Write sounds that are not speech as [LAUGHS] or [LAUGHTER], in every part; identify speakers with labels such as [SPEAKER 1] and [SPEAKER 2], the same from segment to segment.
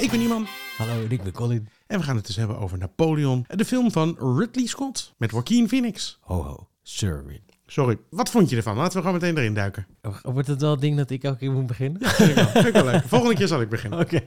[SPEAKER 1] Ik ben iemand.
[SPEAKER 2] Hallo, en ik ben Colin.
[SPEAKER 1] En we gaan het dus hebben over Napoleon. De film van Ridley Scott met Joaquin Phoenix.
[SPEAKER 2] Ho ho, sorry.
[SPEAKER 1] Sorry, wat vond je ervan? Laten we gewoon meteen erin duiken.
[SPEAKER 2] Oh, Wordt het wel het ding dat ik elke keer moet
[SPEAKER 1] [LAUGHS]
[SPEAKER 2] beginnen?
[SPEAKER 1] Vind ik wel leuk. Volgende keer zal ik beginnen.
[SPEAKER 2] Oké.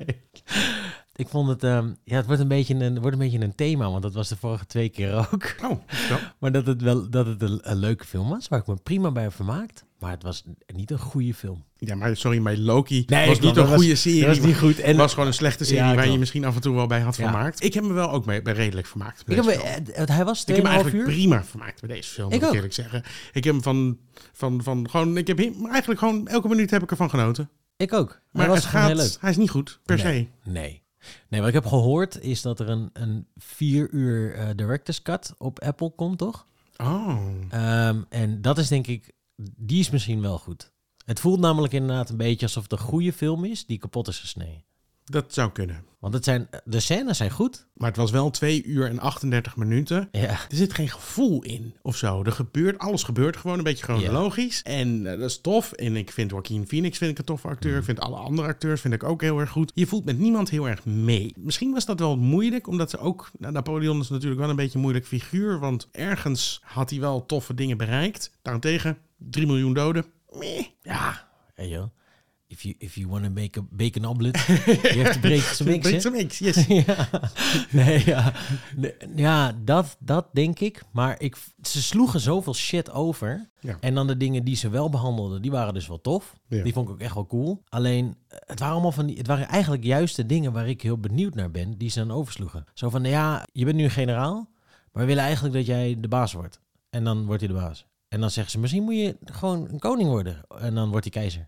[SPEAKER 2] Ik vond het, ehm, ja, het wordt een, beetje een, wordt een beetje een thema, want dat was de vorige twee keer ook. [LAUGHS]
[SPEAKER 1] Oh, wel.
[SPEAKER 2] Maar dat het wel dat het een, een leuke film was, waar ik me prima bij heb vermaakt. Maar het was niet een goede film.
[SPEAKER 1] Ja, maar sorry, maar Loki
[SPEAKER 2] Nee,
[SPEAKER 1] was
[SPEAKER 2] ik
[SPEAKER 1] niet een
[SPEAKER 2] snap, dat was-
[SPEAKER 1] goede serie.
[SPEAKER 2] dat was niet goed.
[SPEAKER 1] Het
[SPEAKER 2] En
[SPEAKER 1] was gewoon een slechte serie
[SPEAKER 2] Ja,
[SPEAKER 1] waar je
[SPEAKER 2] klopt.
[SPEAKER 1] misschien af en toe wel bij had
[SPEAKER 2] Ja.
[SPEAKER 1] vermaakt. Ik heb me wel ook mee, bij redelijk vermaakt. met
[SPEAKER 2] ik heb,
[SPEAKER 1] deze
[SPEAKER 2] me-
[SPEAKER 1] film.
[SPEAKER 2] eh, hij was
[SPEAKER 1] ik heb me
[SPEAKER 2] 2,5
[SPEAKER 1] eigenlijk
[SPEAKER 2] uur.
[SPEAKER 1] prima vermaakt met deze film, moet
[SPEAKER 2] Ik
[SPEAKER 1] ik
[SPEAKER 2] ook.
[SPEAKER 1] eerlijk zeggen. Ik heb hem van, van, van gewoon, ik heb hem, eigenlijk gewoon elke minuut heb ik ervan genoten.
[SPEAKER 2] Ik ook.
[SPEAKER 1] Maar
[SPEAKER 2] hij was
[SPEAKER 1] het
[SPEAKER 2] gewoon
[SPEAKER 1] gaat,
[SPEAKER 2] heel leuk.
[SPEAKER 1] hij is niet goed, per se.
[SPEAKER 2] Nee. Nee, wat ik heb gehoord is dat er een, een vier uur eh, director's cut op Apple komt, toch?
[SPEAKER 1] Oh,
[SPEAKER 2] Ehm, en dat is denk ik, die is misschien wel goed. Het voelt namelijk inderdaad een beetje alsof het een goede film is die kapot is gesneden.
[SPEAKER 1] dat zou kunnen.
[SPEAKER 2] Want het zijn, de scènes zijn goed.
[SPEAKER 1] Maar het was wel 2 uur en 38 minuten.
[SPEAKER 2] Ja.
[SPEAKER 1] Er zit geen gevoel in of zo. Er gebeurt, alles gebeurt gewoon een beetje chronologisch. En eh, dat is tof. En ik vind Joaquin Phoenix vind ik een toffe
[SPEAKER 2] Mm.
[SPEAKER 1] acteur. Ik vind alle andere acteurs vind ik ook heel erg goed. Je voelt met niemand heel erg mee. Misschien was dat wel moeilijk, omdat ze ook... nou, Napoleon is natuurlijk wel een beetje een moeilijk figuur. Want ergens had hij wel toffe dingen bereikt. Daarentegen 3 miljoen doden. Meh.
[SPEAKER 2] Ja. Hey joh. If you, if you want to make a bacon omelet, je hebt to break some eggs, hè?
[SPEAKER 1] Breekt zo niks,
[SPEAKER 2] [LAUGHS]
[SPEAKER 1] yes.
[SPEAKER 2] ja. [LAUGHS] Nee, ja. Nee, ja, dat, dat denk ik. Maar ik, ze sloegen zoveel shit over.
[SPEAKER 1] Ja.
[SPEAKER 2] En dan de dingen die ze wel behandelden, die waren dus wel tof.
[SPEAKER 1] Ja.
[SPEAKER 2] Die vond ik ook echt wel cool. Alleen, eh, het waren, allemaal van die, het waren eigenlijk juist de dingen waar ik heel benieuwd naar ben, die ze dan oversloegen. Zo van, nou ja, je bent nu een generaal, maar we willen eigenlijk dat jij de baas wordt. En dan wordt hij de baas. En dan zeggen ze, misschien moet je gewoon een koning worden. En dan wordt hij keizer.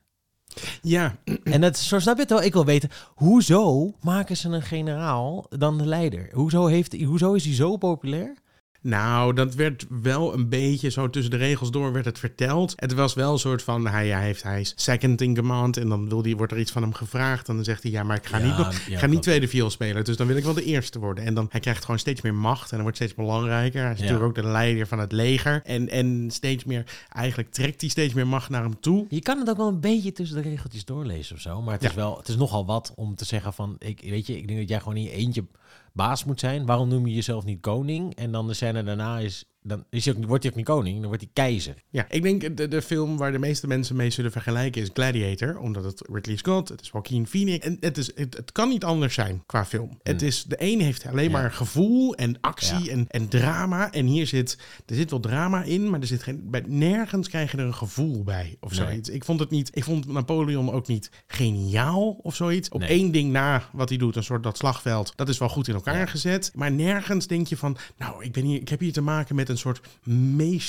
[SPEAKER 1] Ja,
[SPEAKER 2] En dat, zo snap je het wel. Ik wil weten, hoezo maken ze een generaal dan de leider? Hoezo, heeft, hoezo is hij zo populair?
[SPEAKER 1] Nou, dat werd wel een beetje zo tussen de regels door werd het verteld. Het was wel een soort van, hij, hij, heeft, hij is second in command en dan wil die, wordt er iets van hem gevraagd. En dan zegt hij, ja, maar ik ga
[SPEAKER 2] Ja,
[SPEAKER 1] niet, nog-
[SPEAKER 2] ja,
[SPEAKER 1] ik ga niet
[SPEAKER 2] klopt.
[SPEAKER 1] tweede viool spelen, dus dan wil ik wel de eerste worden. En dan, hij krijgt gewoon steeds meer macht en dan wordt steeds belangrijker. Hij is
[SPEAKER 2] Ja.
[SPEAKER 1] natuurlijk ook de leider van het leger. En, en steeds meer, eigenlijk trekt hij steeds meer macht naar hem toe.
[SPEAKER 2] Je kan het ook wel een beetje tussen de regeltjes doorlezen of zo. Maar het,
[SPEAKER 1] Ja.
[SPEAKER 2] is wel, het is nogal wat om te zeggen van... Ik, weet je, ik denk dat jij gewoon in je eentje baas moet zijn. Waarom noem je jezelf niet koning? En dan de scène daarna is... Dan is hij ook, wordt hij ook niet koning, dan wordt hij keizer.
[SPEAKER 1] Ja, ik denk eh, de, de film waar de meeste mensen mee zullen vergelijken is Gladiator. Omdat het Ridley Scott, het is Joaquin Phoenix. En het, is, het, het kan niet anders zijn qua film. Het is, de een heeft alleen
[SPEAKER 2] Hmm. Ja.
[SPEAKER 1] maar gevoel en actie
[SPEAKER 2] Ja.
[SPEAKER 1] en, en drama. En hier zit, er zit wel drama in, maar er zit geen, bij, nergens krijg je er een gevoel bij of
[SPEAKER 2] Nee.
[SPEAKER 1] zoiets. Dus Ik vond het niet, ik vond Napoleon ook niet geniaal of zoiets. Op
[SPEAKER 2] Nee.
[SPEAKER 1] één ding na wat hij doet, een soort dat slagveld, dat is wel goed in elkaar gezet. Maar nergens denk je van, nou, ik, ben hier, ik heb hier te maken met een soort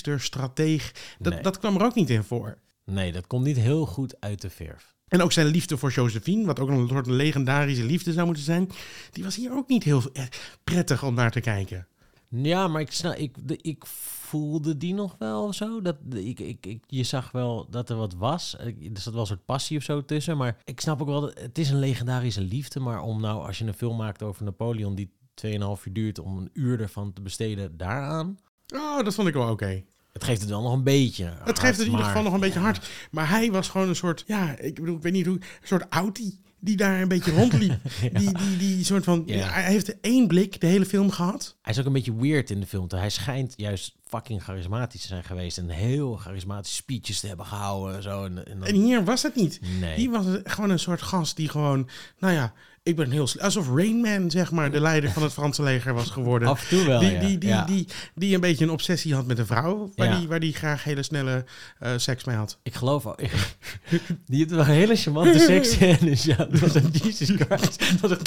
[SPEAKER 1] meesterstrateeg. Dat,
[SPEAKER 2] Nee.
[SPEAKER 1] dat kwam er ook niet in voor.
[SPEAKER 2] Nee, dat komt niet heel goed uit de verf.
[SPEAKER 1] En ook zijn liefde voor Josephine, wat ook een soort legendarische liefde zou moeten zijn, die was hier ook niet heel eh, prettig om naar te kijken.
[SPEAKER 2] Ja, maar ik, snap, ik, de- ik voelde die nog wel of zo. Dat, de- ik, ik, ik, je zag wel dat er wat was. Eh, Er zat wel een soort passie of zo tussen. Maar ik snap ook wel, dat, het is een legendarische liefde. Maar om nou, als je een film maakt over Napoleon die 2,5 uur duurt, om een uur ervan te besteden daaraan.
[SPEAKER 1] Oh, dat vond ik wel oké.
[SPEAKER 2] Het geeft het wel nog een beetje.
[SPEAKER 1] Het geeft het in ieder geval nog een beetje hard. Maar hij was gewoon een soort, ja, ik bedoel, ik weet niet hoe, een soort Audi die daar een beetje
[SPEAKER 2] [LAUGHS]
[SPEAKER 1] rondliep. die, die, die soort van,
[SPEAKER 2] Ja.
[SPEAKER 1] hij heeft één blik de hele film gehad.
[SPEAKER 2] Hij is ook een beetje weird in de film. Hij schijnt juist fucking charismatisch te zijn geweest. En heel charismatische speeches te hebben gehouden. En zo. En, en dan-
[SPEAKER 1] En hier was het niet.
[SPEAKER 2] Nee.
[SPEAKER 1] Hier was het gewoon een soort gast die gewoon, nou ja, ik ben heel sle- Alsof Rain Man, zeg maar, de leider van het Franse leger was geworden.
[SPEAKER 2] Af en toe wel,
[SPEAKER 1] Die,
[SPEAKER 2] ja.
[SPEAKER 1] die, die,
[SPEAKER 2] Ja.
[SPEAKER 1] Die, die een beetje een obsessie had met een vrouw, waar,
[SPEAKER 2] Ja.
[SPEAKER 1] die, waar die graag hele snelle eh, seks mee had.
[SPEAKER 2] Ik [LAUGHS] geloof al. Die heeft wel een hele charmante [LAUGHS] seksscènes. Ja, dat was een Jesus Christ. Dat was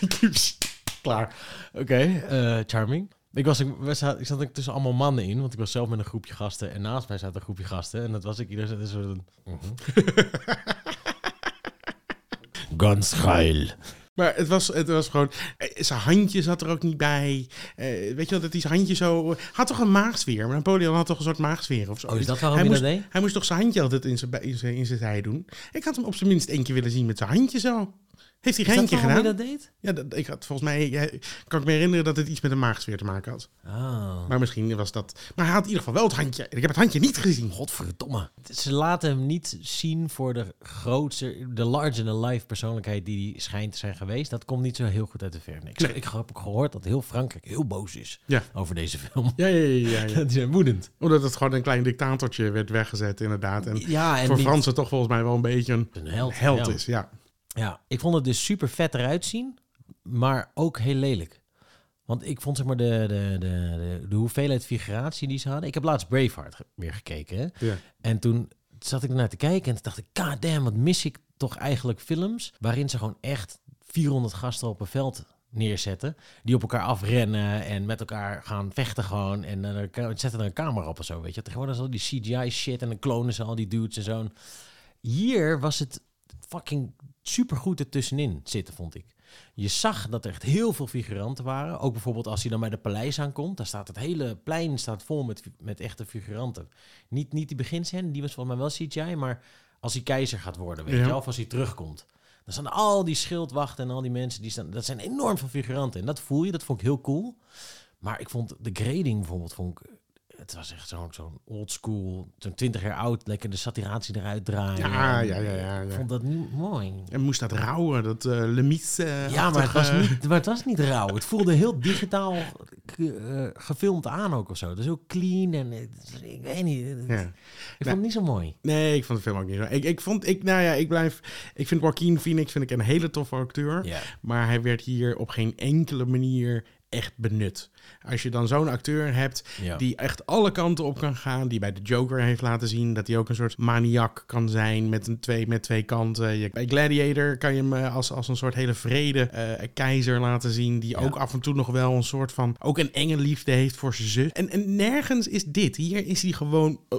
[SPEAKER 2] echt- [LAUGHS] Klaar. Oké, eh, charming. Ik, was, ik, we za- ik zat ook tussen allemaal mannen in, want ik was zelf met een groepje gasten. En naast mij zat een groepje gasten. En dat was ik ieder zat een soort... een- [LAUGHS] Ganz geil.
[SPEAKER 1] Maar het was, het was gewoon. eh, Zijn handje zat er ook niet bij. Eh, weet je wel, dat hij zijn handje zo. Had toch een maagsfeer? Maar Napoleon had toch een soort maagsfeer of zo.
[SPEAKER 2] Oh, is dat waarom
[SPEAKER 1] hij
[SPEAKER 2] je
[SPEAKER 1] moest,
[SPEAKER 2] dat deed?
[SPEAKER 1] Hij moest toch zijn handje altijd in zijn, bij- in zijn, in zijn zij doen? Ik had hem op zijn minst één keer willen zien met zijn handje zo. Heeft hij
[SPEAKER 2] Is dat
[SPEAKER 1] geintje
[SPEAKER 2] waarom hij
[SPEAKER 1] gedaan?
[SPEAKER 2] dat deed?
[SPEAKER 1] Ja, dat, ik had volgens mij... ja, kan ik me herinneren dat het iets met een maagsfeer te maken had.
[SPEAKER 2] Ah.
[SPEAKER 1] Maar misschien was dat... Maar hij had in ieder geval wel het handje. Ik heb het handje niet gezien.
[SPEAKER 2] Godverdomme. Ze laten hem niet zien voor de grootste, de larger than life persoonlijkheid die hij schijnt te zijn geweest. Dat komt niet zo heel goed uit de verf. Nee, Ik,
[SPEAKER 1] Nee.
[SPEAKER 2] ik heb ook gehoord dat heel Frankrijk heel boos is
[SPEAKER 1] Ja.
[SPEAKER 2] over deze film. [LAUGHS]
[SPEAKER 1] Ja, ja, ja. ja, ja.
[SPEAKER 2] Die zijn woedend.
[SPEAKER 1] [LAUGHS] Omdat het gewoon een klein dictatortje werd weggezet, inderdaad. En
[SPEAKER 2] Ja, en
[SPEAKER 1] voor
[SPEAKER 2] niet
[SPEAKER 1] Fransen toch volgens mij wel een beetje een
[SPEAKER 2] een held,
[SPEAKER 1] held
[SPEAKER 2] ja.
[SPEAKER 1] is. Ja.
[SPEAKER 2] Ja, ik vond het dus super vet eruit zien, maar ook heel lelijk. Want ik vond zeg maar de, de, de, de, de hoeveelheid figuratie die ze hadden. Ik heb laatst Braveheart ge- weer gekeken. hè.
[SPEAKER 1] Ja.
[SPEAKER 2] En toen zat ik ernaar te kijken en toen dacht ik, god damn, wat mis ik toch eigenlijk films waarin ze gewoon echt 400 gasten op een veld neerzetten. Die op elkaar afrennen en met elkaar gaan vechten gewoon. En dan zetten er een camera op of zo, weet je. Tegenwoordig is al die CGI shit en dan klonen ze al die dudes en zo. En Hier was het fucking supergoed ertussenin zitten, vond ik. Je zag dat er echt heel veel figuranten waren. Ook bijvoorbeeld als hij dan bij de paleis aankomt. Daar staat het hele plein staat vol met, met echte figuranten. Niet, niet die beginscène, die was volgens mij wel CGI. Maar als hij keizer gaat worden, weet
[SPEAKER 1] Ja.
[SPEAKER 2] je wel. Of als hij terugkomt. Dan staan al die schildwachten en al die mensen. Die staan, dat zijn enorm veel figuranten. En dat voel je, dat vond ik heel cool. Maar ik vond de grading bijvoorbeeld... Vond ik, het was echt zo'n zo'n old school, zo'n 20 jaar oud, lekker de saturatie eruit draaien.
[SPEAKER 1] Ja, ja, ja, ja, ja.
[SPEAKER 2] Ik vond dat niet mooi.
[SPEAKER 1] En moest dat rouwen, dat eh Lemies. eh,
[SPEAKER 2] Ja, maar het,
[SPEAKER 1] achtige-
[SPEAKER 2] was niet, maar het was niet rauw. Het voelde heel digitaal k- eh, gefilmd aan ook of zo. Dus heel clean en het- ik weet niet. het-
[SPEAKER 1] Ja.
[SPEAKER 2] Ik vond het niet zo mooi.
[SPEAKER 1] Nee, ik vond de film ook niet zo. Ik, ik vond, ik, nou ja, ik blijf. Ik vind Joaquin Phoenix vind ik een hele toffe acteur.
[SPEAKER 2] Ja.
[SPEAKER 1] Maar hij werd hier op geen enkele manier echt benut. Als je dan zo'n acteur hebt
[SPEAKER 2] Ja.
[SPEAKER 1] die echt alle kanten op kan gaan, die bij de Joker heeft laten zien dat hij ook een soort maniak kan zijn met, een twee, met twee kanten. Je, bij Gladiator kan je hem eh, als, als een soort hele vrede eh, keizer laten zien, die ook af en toe nog wel een soort van, ook een enge liefde heeft voor zijn zus. En, en nergens is dit. Hier is hij gewoon, eh,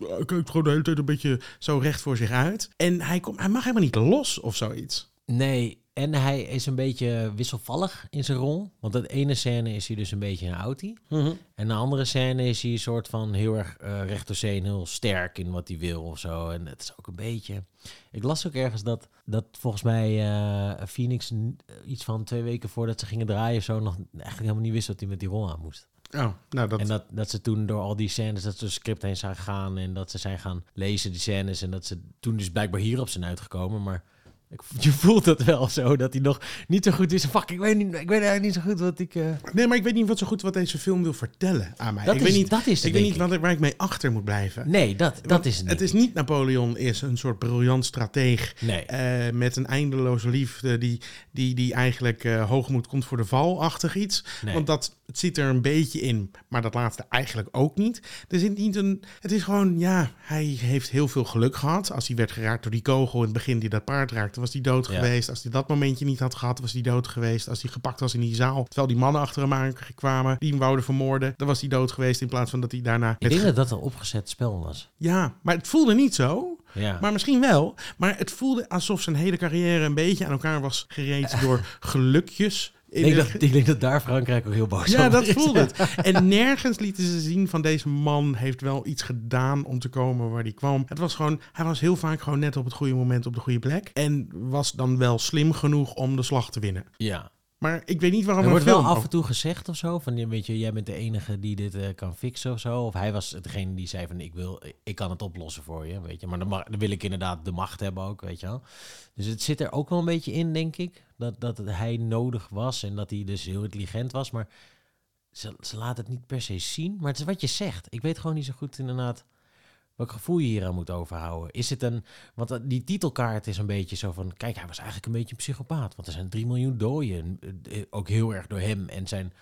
[SPEAKER 1] eh, hij kijkt gewoon de hele tijd een beetje zo recht voor zich uit. En hij, komt, hij mag helemaal niet los of zoiets.
[SPEAKER 2] Nee, en hij is een beetje wisselvallig in zijn rol. Want dat ene scène is hij dus een beetje een outie. En de andere scène is hij een soort van heel erg eh recht door zee en heel sterk in wat hij wil of zo. En het is ook een beetje... Ik las ook ergens dat, dat volgens mij eh Phoenix n- iets van twee weken voordat ze gingen draaien of zo... nog eigenlijk helemaal niet wist wat hij met die rol aan moest.
[SPEAKER 1] Oh, nou dat...
[SPEAKER 2] En dat, dat ze toen door al die scènes, dat ze door het script heen zijn gaan... en dat ze zijn gaan lezen die scènes en dat ze toen dus blijkbaar hierop zijn uitgekomen. Maar ik, je voelt dat wel zo, dat hij nog niet zo goed is. Fuck, ik weet, niet, ik weet eigenlijk niet zo goed wat ik... eh,
[SPEAKER 1] Nee, maar ik weet niet wat zo goed wat deze film wil vertellen aan mij.
[SPEAKER 2] Dat
[SPEAKER 1] ik
[SPEAKER 2] is-
[SPEAKER 1] weet niet,
[SPEAKER 2] dat is het,
[SPEAKER 1] ik weet
[SPEAKER 2] denk
[SPEAKER 1] niet wat, waar ik mee achter moet blijven.
[SPEAKER 2] Nee, dat, dat is het
[SPEAKER 1] het
[SPEAKER 2] niet.
[SPEAKER 1] is niet Napoleon is een soort briljant strateeg
[SPEAKER 2] Nee.
[SPEAKER 1] eh, met een eindeloze liefde die, die, die eigenlijk eh, hoogmoed komt voor de valachtig iets.
[SPEAKER 2] Nee.
[SPEAKER 1] Want dat het zit er een beetje in, maar dat laatste eigenlijk ook niet. Er zit niet een, het is gewoon, ja, hij heeft heel veel geluk gehad. Als hij werd geraakt door die kogel in het begin die dat paard raakte, was hij dood
[SPEAKER 2] Ja.
[SPEAKER 1] geweest. Als hij dat momentje niet had gehad, was hij dood geweest. Als hij gepakt was in die zaal, terwijl die mannen achter hem aankwamen, die hem wouden vermoorden, dan was hij dood geweest in plaats van dat hij daarna...
[SPEAKER 2] Ik
[SPEAKER 1] met
[SPEAKER 2] denk dat dat een opgezet spel was.
[SPEAKER 1] ja, maar het voelde niet zo.
[SPEAKER 2] Ja.
[SPEAKER 1] Maar misschien wel. Maar het voelde alsof zijn hele carrière een beetje aan elkaar was
[SPEAKER 2] [LAUGHS]
[SPEAKER 1] gereed door gelukjes. In
[SPEAKER 2] ik, denk
[SPEAKER 1] de-
[SPEAKER 2] dat, ik denk dat daar Frankrijk ook heel boos
[SPEAKER 1] ja,
[SPEAKER 2] over
[SPEAKER 1] dat
[SPEAKER 2] is.
[SPEAKER 1] voelde
[SPEAKER 2] [LAUGHS]
[SPEAKER 1] het. En nergens lieten ze zien van deze man heeft wel iets gedaan om te komen waar hij kwam. Het was gewoon, hij was heel vaak gewoon net op het goede moment op de goede plek. En was dan wel slim genoeg om de slag te winnen.
[SPEAKER 2] Ja.
[SPEAKER 1] Maar ik weet niet waarom
[SPEAKER 2] Er
[SPEAKER 1] een
[SPEAKER 2] wordt wel
[SPEAKER 1] film-
[SPEAKER 2] af en toe gezegd of zo. Van, ja, weet je, jij bent de enige die dit eh, kan fixen of zo. Of hij was degene die zei van, ik, wil, ik kan het oplossen voor je, weet je. Maar dan, mag- dan wil ik inderdaad de macht hebben ook, weet je wel. Dus het zit er ook wel een beetje in, denk ik. Dat, dat hij nodig was en dat hij dus heel intelligent was. Maar ze, ze laat het niet per se zien. Maar het is wat je zegt. Ik weet gewoon niet zo goed inderdaad welk gevoel je hier aan moet overhouden. Is het een... Want dat- die titelkaart is een beetje zo van... Kijk, hij was eigenlijk een beetje een psychopaat. Want er zijn 3 miljoen doden. eh, eh, Ook heel erg door hem en zijn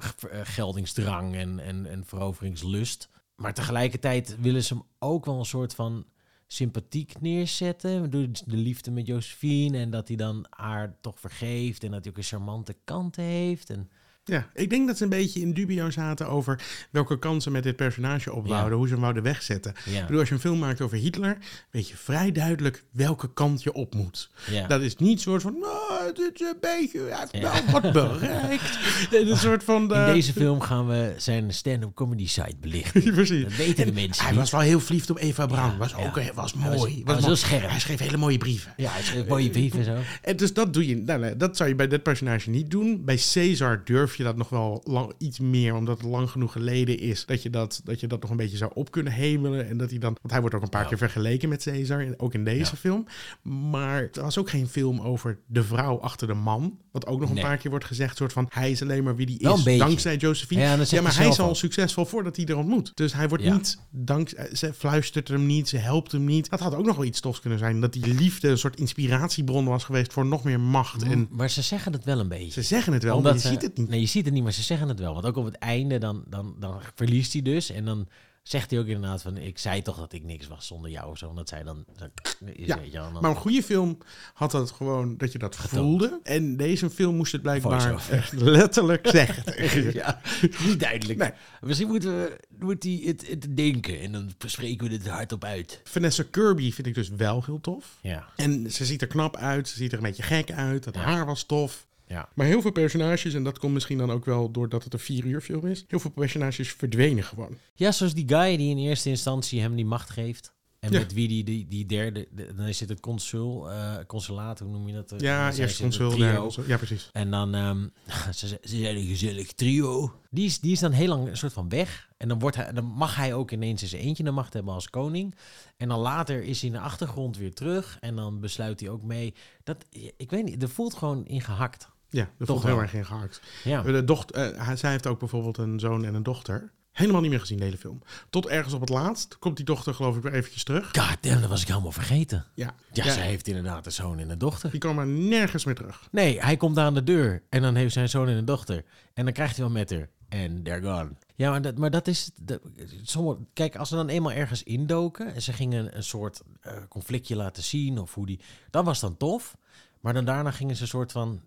[SPEAKER 2] g- eh, geldingsdrang en, en, en veroveringslust. Maar tegelijkertijd willen ze hem ook wel een soort van sympathiek neerzetten. Door de liefde met Josephine. En dat hij dan haar toch vergeeft. En dat hij ook een charmante kant heeft. En
[SPEAKER 1] Ja, ik denk dat ze een beetje in dubio zaten over welke kansen met dit personage opbouwden,
[SPEAKER 2] Ja.
[SPEAKER 1] hoe ze hem wouden wegzetten.
[SPEAKER 2] Ja.
[SPEAKER 1] Ik bedoel, als je een film maakt over Hitler, weet je vrij duidelijk welke kant je op moet.
[SPEAKER 2] Ja.
[SPEAKER 1] Dat is niet soort van, nou, het is een beetje, hij heeft
[SPEAKER 2] Ja.
[SPEAKER 1] wel wat
[SPEAKER 2] [LAUGHS]
[SPEAKER 1] bereikt. Nee, Een soort van...
[SPEAKER 2] In
[SPEAKER 1] eh, [LAUGHS]
[SPEAKER 2] deze film gaan we zijn stand-up comedy site belichten.
[SPEAKER 1] Precies.
[SPEAKER 2] Dat weten de
[SPEAKER 1] En
[SPEAKER 2] mensen
[SPEAKER 1] Hij
[SPEAKER 2] niet.
[SPEAKER 1] was wel heel verliefd op Eva Braun.
[SPEAKER 2] Ja,
[SPEAKER 1] was ook
[SPEAKER 2] ja.
[SPEAKER 1] eh, was
[SPEAKER 2] Hij was-
[SPEAKER 1] mooi.
[SPEAKER 2] hij was
[SPEAKER 1] mooi.
[SPEAKER 2] heel scherp.
[SPEAKER 1] Hij schreef hele mooie brieven.
[SPEAKER 2] Ja, het is een mooie brief en zo.
[SPEAKER 1] En dus dat doe je. Nou, nee, dat zou je bij dit personage niet doen. Bij Caesar durf je dat nog wel lang, iets meer, omdat het lang genoeg geleden is. Dat je dat, dat je dat nog een beetje zou op kunnen hemelen. En dat hij dan. Want hij wordt ook een paar keer vergeleken met Caesar. en Ook in deze
[SPEAKER 2] Ja.
[SPEAKER 1] film. Maar het was ook geen film over de vrouw achter de man. Wat ook nog een
[SPEAKER 2] Nee.
[SPEAKER 1] paar keer wordt gezegd. soort van hij is alleen maar wie die
[SPEAKER 2] Wel
[SPEAKER 1] is.
[SPEAKER 2] een beetje.
[SPEAKER 1] Dankzij Josephine.
[SPEAKER 2] Ja, dat zegt
[SPEAKER 1] Ja, maar
[SPEAKER 2] hij
[SPEAKER 1] hij is
[SPEAKER 2] zelf
[SPEAKER 1] al
[SPEAKER 2] ook.
[SPEAKER 1] succesvol voordat hij er ontmoet. Dus hij wordt
[SPEAKER 2] Ja.
[SPEAKER 1] niet dank, eh, ze fluistert hem niet, ze helpt hem niet. Dat had ook nog wel iets tofs kunnen zijn. Dat die liefde een soort inspiratiebron was geweest voor nog meer macht. En
[SPEAKER 2] Maar ze zeggen het wel een beetje.
[SPEAKER 1] ze zeggen het wel,
[SPEAKER 2] Mm. Omdat
[SPEAKER 1] maar je
[SPEAKER 2] ze-
[SPEAKER 1] ziet het niet.
[SPEAKER 2] Nee, je ziet het niet, maar ze zeggen het wel. Want ook op het einde, dan, dan, dan verliest hij dus. En dan zegt hij ook inderdaad van... Ik zei toch dat ik niks was zonder jou of zo. Omdat zij dan... dan is,
[SPEAKER 1] Ja,
[SPEAKER 2] weet je wel, en dan-
[SPEAKER 1] Maar een goede film had dat gewoon dat je dat
[SPEAKER 2] Getoond.
[SPEAKER 1] voelde. En deze film moest het blijkbaar
[SPEAKER 2] Voice-over.
[SPEAKER 1] echt
[SPEAKER 2] [LAUGHS]
[SPEAKER 1] letterlijk [LAUGHS] zeggen.
[SPEAKER 2] ja, [LAUGHS] niet duidelijk.
[SPEAKER 1] Nee.
[SPEAKER 2] Misschien moeten we moet hij het, het denken. En dan bespreken we het hardop uit.
[SPEAKER 1] Vanessa Kirby vind ik dus wel heel tof.
[SPEAKER 2] Ja,
[SPEAKER 1] En ze ziet er knap uit, ze ziet er een beetje gek uit. Het
[SPEAKER 2] Ja.
[SPEAKER 1] haar was tof.
[SPEAKER 2] ja.
[SPEAKER 1] Maar heel veel personages, en dat komt misschien dan ook wel doordat het een vier uur film is, heel veel personages verdwenen gewoon.
[SPEAKER 2] Ja, zoals die guy die in eerste instantie hem die macht geeft. En
[SPEAKER 1] Ja.
[SPEAKER 2] met wie die, die, die derde... de- dan is het het consul, eh, consulaat, hoe noem je dat?
[SPEAKER 1] Ja,
[SPEAKER 2] Dan zijn
[SPEAKER 1] eerst
[SPEAKER 2] ze het
[SPEAKER 1] consul,
[SPEAKER 2] trio.
[SPEAKER 1] derde consul. Ja, precies.
[SPEAKER 2] En dan, ehm, [LAUGHS] ze, ze zijn een gezellig trio. Die is, die is dan heel lang een soort van weg. En dan, wordt hij, dan mag hij ook ineens eens eentje de macht hebben als koning. En dan later is hij in de achtergrond weer terug. En dan besluit hij ook mee. Dat, ik weet niet, er voelt gewoon ingehakt.
[SPEAKER 1] Ja, dat vond ik
[SPEAKER 2] wel.
[SPEAKER 1] heel erg ingehakt.
[SPEAKER 2] Ja.
[SPEAKER 1] De dochter, eh, hij- zij heeft ook bijvoorbeeld een zoon en een dochter. Helemaal niet meer gezien de hele film. Tot ergens op het laatst komt die dochter geloof ik weer eventjes terug.
[SPEAKER 2] God damn, dat was ik helemaal vergeten.
[SPEAKER 1] Ja,
[SPEAKER 2] Ja,
[SPEAKER 1] Ja,
[SPEAKER 2] zij heeft inderdaad een zoon en een dochter.
[SPEAKER 1] die kwam maar nergens meer terug.
[SPEAKER 2] Nee, hij komt aan de deur. En dan heeft zijn zoon en een dochter. En dan krijgt hij wel met haar. En they're gone. Ja, maar dat, maar dat is... Dat, sommige, kijk, als ze dan eenmaal ergens indoken... en ze gingen een soort eh, conflictje laten zien... of hoe die... Dat was dan tof. Maar dan daarna gingen ze een soort van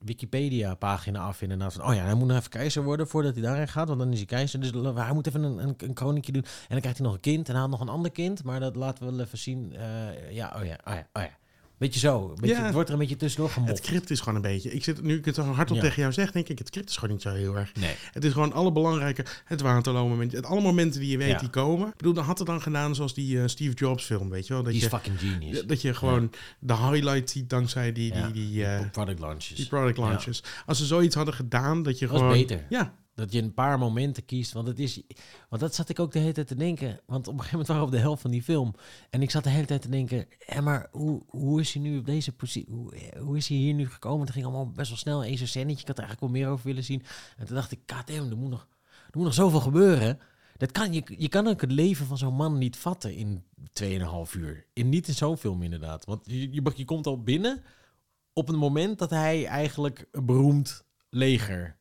[SPEAKER 2] Wikipedia-pagina af... inderdaad van... oh ja, hij moet nog even keizer worden voordat hij daarin gaat... want dan is hij keizer. Dus l- hij moet even een, een, een koninkje doen. En dan krijgt hij nog een kind en hij had nog een ander kind... maar dat laten we wel even zien. Eh, ja, oh ja, oh ja, oh ja. Beetje zo. Een Beetje,
[SPEAKER 1] Ja.
[SPEAKER 2] Het wordt er een beetje tussendoor
[SPEAKER 1] Het
[SPEAKER 2] gemopt.
[SPEAKER 1] script is gewoon een beetje... Ik zit, nu ik het zo hardop
[SPEAKER 2] Ja.
[SPEAKER 1] tegen jou zeg, denk ik, het script is gewoon niet zo heel erg.
[SPEAKER 2] Nee.
[SPEAKER 1] Het is gewoon alle belangrijke, het waterloomoment, het alle momenten die je weet
[SPEAKER 2] Ja.
[SPEAKER 1] die komen. Ik bedoel, dan had het dan gedaan zoals die eh, Steve Jobs film, weet je wel? Dat
[SPEAKER 2] Die
[SPEAKER 1] je,
[SPEAKER 2] is fucking genius.
[SPEAKER 1] Dat je gewoon de highlight ziet dankzij die,
[SPEAKER 2] Ja,
[SPEAKER 1] die, die, eh,
[SPEAKER 2] product launches.
[SPEAKER 1] die product launches. Als ze zoiets hadden gedaan, dat je
[SPEAKER 2] Dat was
[SPEAKER 1] gewoon...
[SPEAKER 2] beter.
[SPEAKER 1] Ja,
[SPEAKER 2] Dat je een paar momenten kiest. Want, het is, want dat zat ik ook de hele tijd te denken. Want op een gegeven moment waren we op de helft van die film. En ik zat de hele tijd te denken. Hé, maar hoe, hoe is hij nu op deze positie? Hoe, hoe is hij hier nu gekomen? Het ging allemaal best wel snel. Eén zo'n scènetje. Ik had er eigenlijk wel meer over willen zien. En toen dacht ik, goddamn, er moet nog, er moet nog zoveel gebeuren. Dat kan, je, je kan ook het leven van zo'n man niet vatten in 2,5 uur. In, niet in zo'n film inderdaad. Want je, je, je komt al binnen op het moment dat hij eigenlijk een beroemd leger...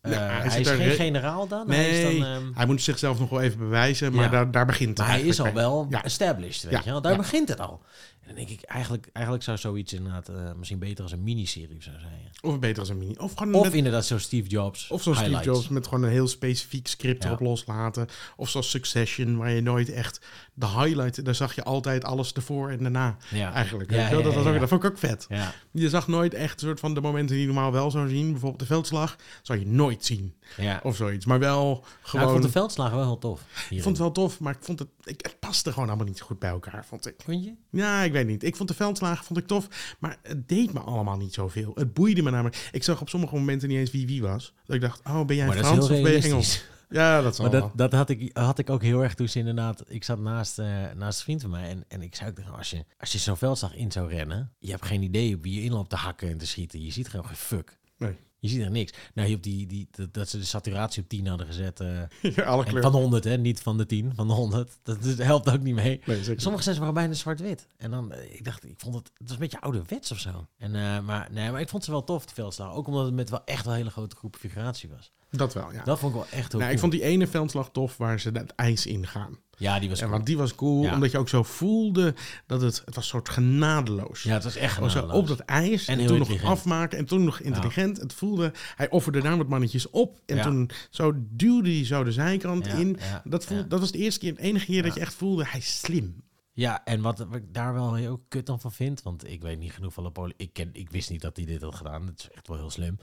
[SPEAKER 2] eh,
[SPEAKER 1] Ja, hij
[SPEAKER 2] hij,
[SPEAKER 1] zit
[SPEAKER 2] is
[SPEAKER 1] daar
[SPEAKER 2] geen
[SPEAKER 1] re-
[SPEAKER 2] generaal dan?
[SPEAKER 1] nee,
[SPEAKER 2] Hij is dan, ehm,
[SPEAKER 1] hij moet zichzelf nog wel even bewijzen, maar
[SPEAKER 2] Ja.
[SPEAKER 1] daar, daar begint
[SPEAKER 2] maar
[SPEAKER 1] het
[SPEAKER 2] hij is al
[SPEAKER 1] eigenlijk mee.
[SPEAKER 2] wel
[SPEAKER 1] Ja.
[SPEAKER 2] established, weet
[SPEAKER 1] Ja,
[SPEAKER 2] je wel. Daar
[SPEAKER 1] ja.
[SPEAKER 2] begint het al. En dan denk ik, eigenlijk, eigenlijk zou zoiets inderdaad eh, misschien beter als een miniserie zou zijn.
[SPEAKER 1] Of beter als een mini. Of gewoon
[SPEAKER 2] Of
[SPEAKER 1] met-
[SPEAKER 2] inderdaad zo'n Steve Jobs
[SPEAKER 1] Of zo'n Steve
[SPEAKER 2] highlights.
[SPEAKER 1] Jobs met gewoon een heel specifiek script
[SPEAKER 2] Ja.
[SPEAKER 1] erop loslaten. Of zoals Succession, waar je nooit echt de highlight... Daar zag je altijd alles ervoor en daarna
[SPEAKER 2] Ja.
[SPEAKER 1] eigenlijk.
[SPEAKER 2] Ja,
[SPEAKER 1] weet je wel?
[SPEAKER 2] ja,
[SPEAKER 1] dat, was
[SPEAKER 2] ja,
[SPEAKER 1] ook,
[SPEAKER 2] ja.
[SPEAKER 1] dat vond ik ook vet.
[SPEAKER 2] Ja,
[SPEAKER 1] Je zag nooit echt soort van de momenten die je normaal wel zou zien. Bijvoorbeeld de veldslag zou je nooit zien.
[SPEAKER 2] ja.
[SPEAKER 1] Of zoiets. Maar wel
[SPEAKER 2] Nou,
[SPEAKER 1] gewoon...
[SPEAKER 2] ik vond de veldslagen wel heel tof.
[SPEAKER 1] ik
[SPEAKER 2] hierin.
[SPEAKER 1] vond het wel tof, maar ik vond het, ik, het paste gewoon allemaal niet goed bij elkaar, vond ik.
[SPEAKER 2] Vond je?
[SPEAKER 1] Ja, ik weet niet. Ik vond de veldslagen vond ik tof, maar het deed me allemaal niet zoveel. Het boeide me namelijk. Ik zag op sommige momenten niet eens wie wie was. Dat ik dacht, oh, ben jij
[SPEAKER 2] Maar dat is
[SPEAKER 1] Frans
[SPEAKER 2] heel
[SPEAKER 1] of ben je
[SPEAKER 2] realistisch.
[SPEAKER 1] Engels? Ja, dat zal
[SPEAKER 2] Maar dat,
[SPEAKER 1] wel.
[SPEAKER 2] dat had, ik, had ik ook heel erg toen ze inderdaad... Ik zat naast, eh, naast een vriend van mij en, en ik zei ook tegen hem, als je, als je zo'n veldslag in zou rennen... Je hebt geen idee op wie je in loopt te hakken en te schieten. Je ziet gewoon geen fuck.
[SPEAKER 1] Nee.
[SPEAKER 2] Je ziet er niks. Nou, je op die, die, dat, dat ze de saturatie op 10 hadden gezet. eh,
[SPEAKER 1] [LAUGHS] Ja, alle
[SPEAKER 2] en
[SPEAKER 1] kleuren.
[SPEAKER 2] van de 100, hè? Niet van de 10, van de 100. Dat, dat helpt ook niet mee.
[SPEAKER 1] Nee, zeker.
[SPEAKER 2] Sommige sets waren bijna zwart-wit. En dan, eh, ik dacht, ik vond het, het was een beetje ouderwets of zo. En, eh, maar, nee, maar ik vond ze wel tof, die veldslag. Ook omdat het met wel echt wel een hele grote groep figuratie was.
[SPEAKER 1] Dat wel, ja.
[SPEAKER 2] Dat vond ik wel echt heel
[SPEAKER 1] nou,
[SPEAKER 2] cool.
[SPEAKER 1] ik vond die ene veldslag tof waar ze het ijs in gaan.
[SPEAKER 2] Ja, die was
[SPEAKER 1] En
[SPEAKER 2] cool.
[SPEAKER 1] want die was cool,
[SPEAKER 2] Ja.
[SPEAKER 1] omdat je ook zo voelde dat het, het was een soort genadeloos.
[SPEAKER 2] Ja, het was echt
[SPEAKER 1] Gewoon Oh, zo
[SPEAKER 2] genadeloos.
[SPEAKER 1] op dat ijs
[SPEAKER 2] En
[SPEAKER 1] en,
[SPEAKER 2] heel
[SPEAKER 1] toen nog
[SPEAKER 2] intelligent.
[SPEAKER 1] afmaken en toen nog intelligent. Het voelde, hij offerde daar wat mannetjes op en
[SPEAKER 2] Ja.
[SPEAKER 1] toen zo duwde hij zo de zijkant
[SPEAKER 2] Ja,
[SPEAKER 1] in.
[SPEAKER 2] ja,
[SPEAKER 1] dat, voelde,
[SPEAKER 2] ja.
[SPEAKER 1] dat was de eerste keer, het enige keer dat je echt voelde, hij is slim.
[SPEAKER 2] Ja, en wat, wat ik daar wel heel kut dan van vind, want ik weet niet genoeg van Napoli. Ik, ken, ik wist niet dat hij dit had gedaan. Dat is echt wel heel slim.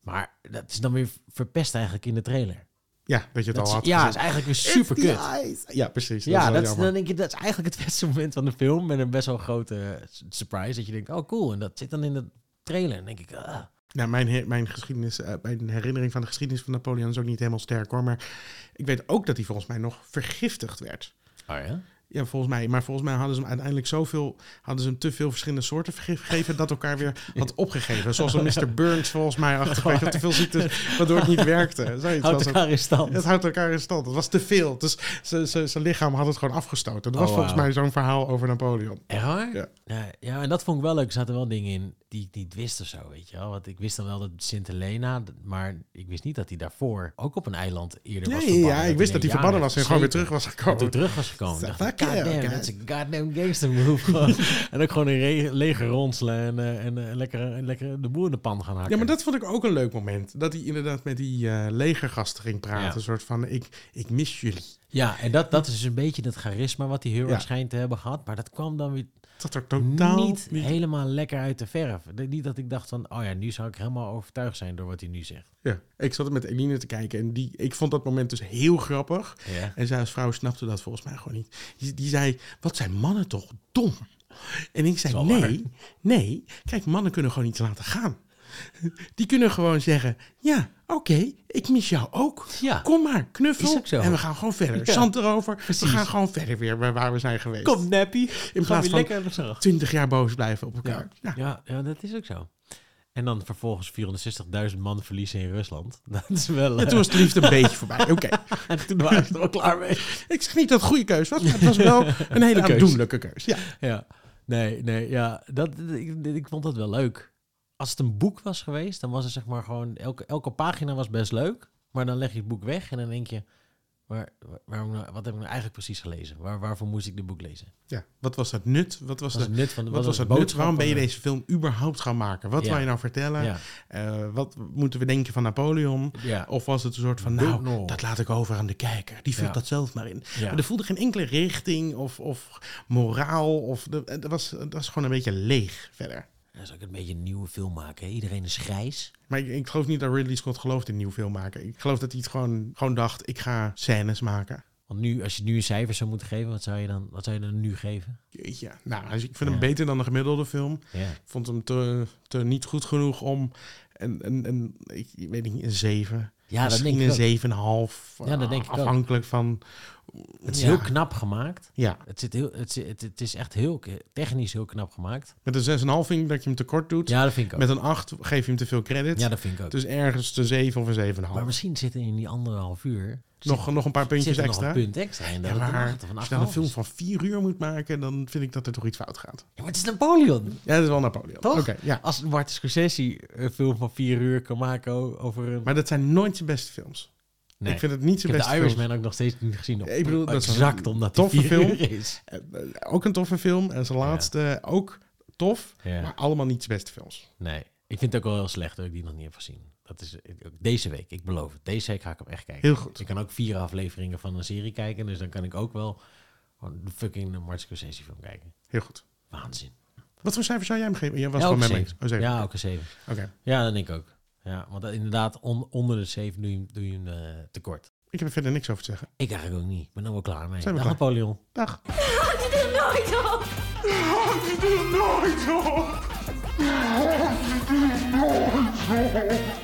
[SPEAKER 2] Maar dat is dan weer verpest eigenlijk in de trailer.
[SPEAKER 1] Ja, dat je het
[SPEAKER 2] Dat
[SPEAKER 1] al
[SPEAKER 2] is,
[SPEAKER 1] had
[SPEAKER 2] ja, is
[SPEAKER 1] gezien.
[SPEAKER 2] eigenlijk weer super
[SPEAKER 1] It's the
[SPEAKER 2] kut.
[SPEAKER 1] eyes. Ja, precies.
[SPEAKER 2] Ja,
[SPEAKER 1] wel
[SPEAKER 2] dat is,
[SPEAKER 1] jammer.
[SPEAKER 2] dan denk je, dat is eigenlijk het beste moment van de film. Met een best wel grote eh, s- surprise. Dat je denkt, oh cool. En dat zit dan in de trailer. En dan denk ik, ah.
[SPEAKER 1] Nou, mijn, he- mijn, geschiedenis, eh, mijn herinnering van de geschiedenis van Napoleon is ook niet helemaal sterk hoor. Maar ik weet ook dat hij volgens mij nog vergiftigd werd.
[SPEAKER 2] Oh ja?
[SPEAKER 1] Ja, volgens mij. Maar volgens mij hadden ze hem uiteindelijk zoveel, hadden ze hem te veel verschillende soorten vergif gegeven dat elkaar weer had opgegeven. Zoals een Mr. Burns volgens mij achter, weet je wel, te veel ziektes, waardoor het niet
[SPEAKER 2] [LAUGHS]
[SPEAKER 1] werkte. Zoiets
[SPEAKER 2] Oh. Houdt
[SPEAKER 1] was het.
[SPEAKER 2] elkaar in stand.
[SPEAKER 1] Het houdt elkaar in stand. Het was te veel. Dus ze- ze- zijn lichaam had het gewoon afgestoten. Dat
[SPEAKER 2] Oh,
[SPEAKER 1] was volgens
[SPEAKER 2] wauw.
[SPEAKER 1] mij zo'n verhaal over Napoleon.
[SPEAKER 2] Echt waar?
[SPEAKER 1] Ja.
[SPEAKER 2] Ja, ja, en dat vond ik wel leuk. Er zaten wel dingen in die ik niet wist of zo, weet je wel. Want ik wist dan wel dat Sint Helena, d- maar ik wist niet dat hij daarvoor ook op een eiland eerder was
[SPEAKER 1] Nee,
[SPEAKER 2] verbannen.
[SPEAKER 1] ja, ik wist dat hij
[SPEAKER 2] denk, ja,
[SPEAKER 1] verbannen was en gewoon weer terug
[SPEAKER 2] zeker.
[SPEAKER 1] was
[SPEAKER 2] Dat
[SPEAKER 1] gekomen.
[SPEAKER 2] hij terug was gekomen. Ik dacht,
[SPEAKER 1] Fuck yeah,
[SPEAKER 2] goddamn,
[SPEAKER 1] guy.
[SPEAKER 2] dat is een goddamn gangster move. Gewoon. [LAUGHS] en ook gewoon in re- leger ronselen en, eh, en eh, lekker, en lekker de boer in de pan gaan hakken.
[SPEAKER 1] Ja, maar dat vond ik ook een leuk moment. Dat hij inderdaad met die eh, legergasten ging praten.
[SPEAKER 2] Ja.
[SPEAKER 1] Een soort van, ik, ik mis jullie.
[SPEAKER 2] Ja, en dat, dat is dus een beetje dat charisma wat hij heel
[SPEAKER 1] Ja.
[SPEAKER 2] erg schijnt te hebben gehad. Maar dat kwam dan weer
[SPEAKER 1] Dat er totaal
[SPEAKER 2] niet, helemaal lekker uit de verf. De- Niet dat ik dacht van, oh ja, nu zou ik helemaal overtuigd zijn door wat hij nu zegt.
[SPEAKER 1] Ja. Ik zat met Eline te kijken en die, ik vond dat moment dus heel grappig.
[SPEAKER 2] Ja.
[SPEAKER 1] En zij als vrouw snapte dat volgens mij gewoon niet. Die, die zei, wat zijn mannen toch dom? En ik zei,
[SPEAKER 2] Is wel
[SPEAKER 1] nee, nee. Kijk, mannen kunnen gewoon iets laten gaan. Die kunnen gewoon zeggen, ja, oké, ik mis jou ook.
[SPEAKER 2] Ja.
[SPEAKER 1] Kom maar,
[SPEAKER 2] Is
[SPEAKER 1] knuffel.
[SPEAKER 2] ook zo.
[SPEAKER 1] En we gaan gewoon verder.
[SPEAKER 2] Ja.
[SPEAKER 1] Zand erover.
[SPEAKER 2] Precies.
[SPEAKER 1] We gaan gewoon verder weer waar- waar we zijn geweest.
[SPEAKER 2] Kom, Nappy. In
[SPEAKER 1] plaats
[SPEAKER 2] plaats
[SPEAKER 1] van-
[SPEAKER 2] van... lekker gezellig.
[SPEAKER 1] 20 jaar boos blijven op elkaar.
[SPEAKER 2] Ja.
[SPEAKER 1] Ja.
[SPEAKER 2] Ja, ja, dat is ook zo. En dan vervolgens 460.000 man verliezen in Rusland. [LAUGHS] Dat is wel...
[SPEAKER 1] En toen was de liefde een beetje voorbij. Oké.
[SPEAKER 2] eh, [LAUGHS] en toen waren ze er wel klaar mee.
[SPEAKER 1] Ik zeg niet dat het een goede keus was, maar het was wel een hele
[SPEAKER 2] [LAUGHS] Een keus.
[SPEAKER 1] aandoenlijke keus. Ja.
[SPEAKER 2] Ja. Nee, nee, ja. Dat, ik, ik vond dat wel leuk. Als het een boek was geweest, dan was het zeg maar gewoon... Elke, elke pagina was best leuk. Maar dan leg je het boek weg en dan denk je... Waar, waar- waarom, nou- wat heb ik nou eigenlijk precies gelezen? Waar, waarvoor moest ik dit boek lezen?
[SPEAKER 1] ja. Wat was dat nut? Wat was,
[SPEAKER 2] Wat was
[SPEAKER 1] de,
[SPEAKER 2] het nut van...
[SPEAKER 1] wat
[SPEAKER 2] wat
[SPEAKER 1] was
[SPEAKER 2] het
[SPEAKER 1] het nut? Waarom ben je
[SPEAKER 2] boodschap
[SPEAKER 1] deze film überhaupt gaan maken? Wat
[SPEAKER 2] Ja.
[SPEAKER 1] wil je nou vertellen?
[SPEAKER 2] Ja,
[SPEAKER 1] Eh, wat moeten we denken van Napoleon?
[SPEAKER 2] ja.
[SPEAKER 1] Of was het een soort van,
[SPEAKER 2] Don't
[SPEAKER 1] nou,
[SPEAKER 2] know.
[SPEAKER 1] dat laat ik over aan de kijker. Die vult
[SPEAKER 2] Ja.
[SPEAKER 1] dat zelf maar in.
[SPEAKER 2] Ja.
[SPEAKER 1] Maar er voelde geen enkele richting of, of moraal. Of, de- het, was, het was gewoon een beetje leeg verder.
[SPEAKER 2] Dan zou ik een beetje een nieuwe film maken. hè? Iedereen is grijs.
[SPEAKER 1] Maar ik, ik geloof niet dat Ridley Scott gelooft in nieuw film maken. Ik geloof dat hij het gewoon, gewoon dacht, ik ga scènes maken.
[SPEAKER 2] Want nu, als je nu een cijfer zou moeten geven, wat zou je dan, wat zou je dan nu geven?
[SPEAKER 1] Jeetje. Nou, als- ik vind hem
[SPEAKER 2] Ja.
[SPEAKER 1] beter dan de gemiddelde film.
[SPEAKER 2] Ja.
[SPEAKER 1] Ik vond hem te, te niet goed genoeg om een, een, een ik weet niet, een 7.
[SPEAKER 2] Ja, dat
[SPEAKER 1] Misschien
[SPEAKER 2] denk ik ook.
[SPEAKER 1] een 7,5.
[SPEAKER 2] Ja, dat denk ik ook.
[SPEAKER 1] Afhankelijk van...
[SPEAKER 2] Het is
[SPEAKER 1] Ja.
[SPEAKER 2] heel knap gemaakt.
[SPEAKER 1] Ja,
[SPEAKER 2] Het, zit heel, het, zit- het, het is echt heel k- technisch heel knap gemaakt.
[SPEAKER 1] met een 6,5 vind ik dat je hem tekort doet.
[SPEAKER 2] Ja, dat vind ik ook.
[SPEAKER 1] Met een 8 geef je hem te veel credit.
[SPEAKER 2] Ja, dat vind ik ook.
[SPEAKER 1] Dus ergens een 7 of een 7,5.
[SPEAKER 2] Maar misschien zit er in die anderhalf uur
[SPEAKER 1] nog, nog een paar
[SPEAKER 2] zit,
[SPEAKER 1] puntjes
[SPEAKER 2] zit er nog
[SPEAKER 1] extra.
[SPEAKER 2] een punt extra in.
[SPEAKER 1] Ja,
[SPEAKER 2] dat het een
[SPEAKER 1] maar
[SPEAKER 2] acht of
[SPEAKER 1] als je dan
[SPEAKER 2] een
[SPEAKER 1] een
[SPEAKER 2] film
[SPEAKER 1] film van 4 uur moet maken, dan vind ik dat er toch iets fout gaat.
[SPEAKER 2] maar het is Napoleon.
[SPEAKER 1] Ja, dat is wel Napoleon.
[SPEAKER 2] Toch?
[SPEAKER 1] Oké, ja.
[SPEAKER 2] Als Martin Scorsese een film van vier uur kan maken o- over een...
[SPEAKER 1] Maar dat zijn nooit zijn beste films.
[SPEAKER 2] nee.
[SPEAKER 1] Ik vind het niet
[SPEAKER 2] Ik
[SPEAKER 1] zijn
[SPEAKER 2] heb
[SPEAKER 1] beste
[SPEAKER 2] de
[SPEAKER 1] films.
[SPEAKER 2] Irishman ook nog steeds niet gezien. Op,
[SPEAKER 1] Ik bedoel, dat is een
[SPEAKER 2] exact omdat die
[SPEAKER 1] toffe
[SPEAKER 2] vier
[SPEAKER 1] film.
[SPEAKER 2] uur is.
[SPEAKER 1] Eh, eh, Ook een toffe film. En zijn
[SPEAKER 2] Ja.
[SPEAKER 1] laatste ook tof.
[SPEAKER 2] Ja.
[SPEAKER 1] Maar allemaal niet zijn beste films.
[SPEAKER 2] Nee, ik vind het ook wel heel slecht dat ik die nog niet heb gezien. Dat is ik- ook deze week, ik beloof het. Deze week ga ik hem echt kijken.
[SPEAKER 1] Heel goed.
[SPEAKER 2] Ik kan ook vier afleveringen van een serie kijken, dus dan kan ik ook wel gewoon de fucking Martin Scorsese film kijken.
[SPEAKER 1] Heel goed.
[SPEAKER 2] Waanzin.
[SPEAKER 1] Wat voor cijfer zou jij hem geven? Jij was
[SPEAKER 2] Ja,
[SPEAKER 1] gewoon
[SPEAKER 2] ook
[SPEAKER 1] met
[SPEAKER 2] een
[SPEAKER 1] me eens.
[SPEAKER 2] zeven.
[SPEAKER 1] Oh, zeven.
[SPEAKER 2] Ja, ook een zeven.
[SPEAKER 1] Oké.
[SPEAKER 2] Ja, dat denk ik ook. Ja, want dat- inderdaad, on- onder de zeven doe je, hem- doe je hem eh, tekort.
[SPEAKER 1] Ik heb er verder niks over te zeggen.
[SPEAKER 2] Ik eigenlijk ook niet. Ik ben er wel klaar mee.
[SPEAKER 1] Zijn we
[SPEAKER 2] Dag
[SPEAKER 1] klaar?
[SPEAKER 2] Napoleon.
[SPEAKER 1] Dag.
[SPEAKER 3] Houd je er nooit op!
[SPEAKER 4] Nooit op! Nooit op!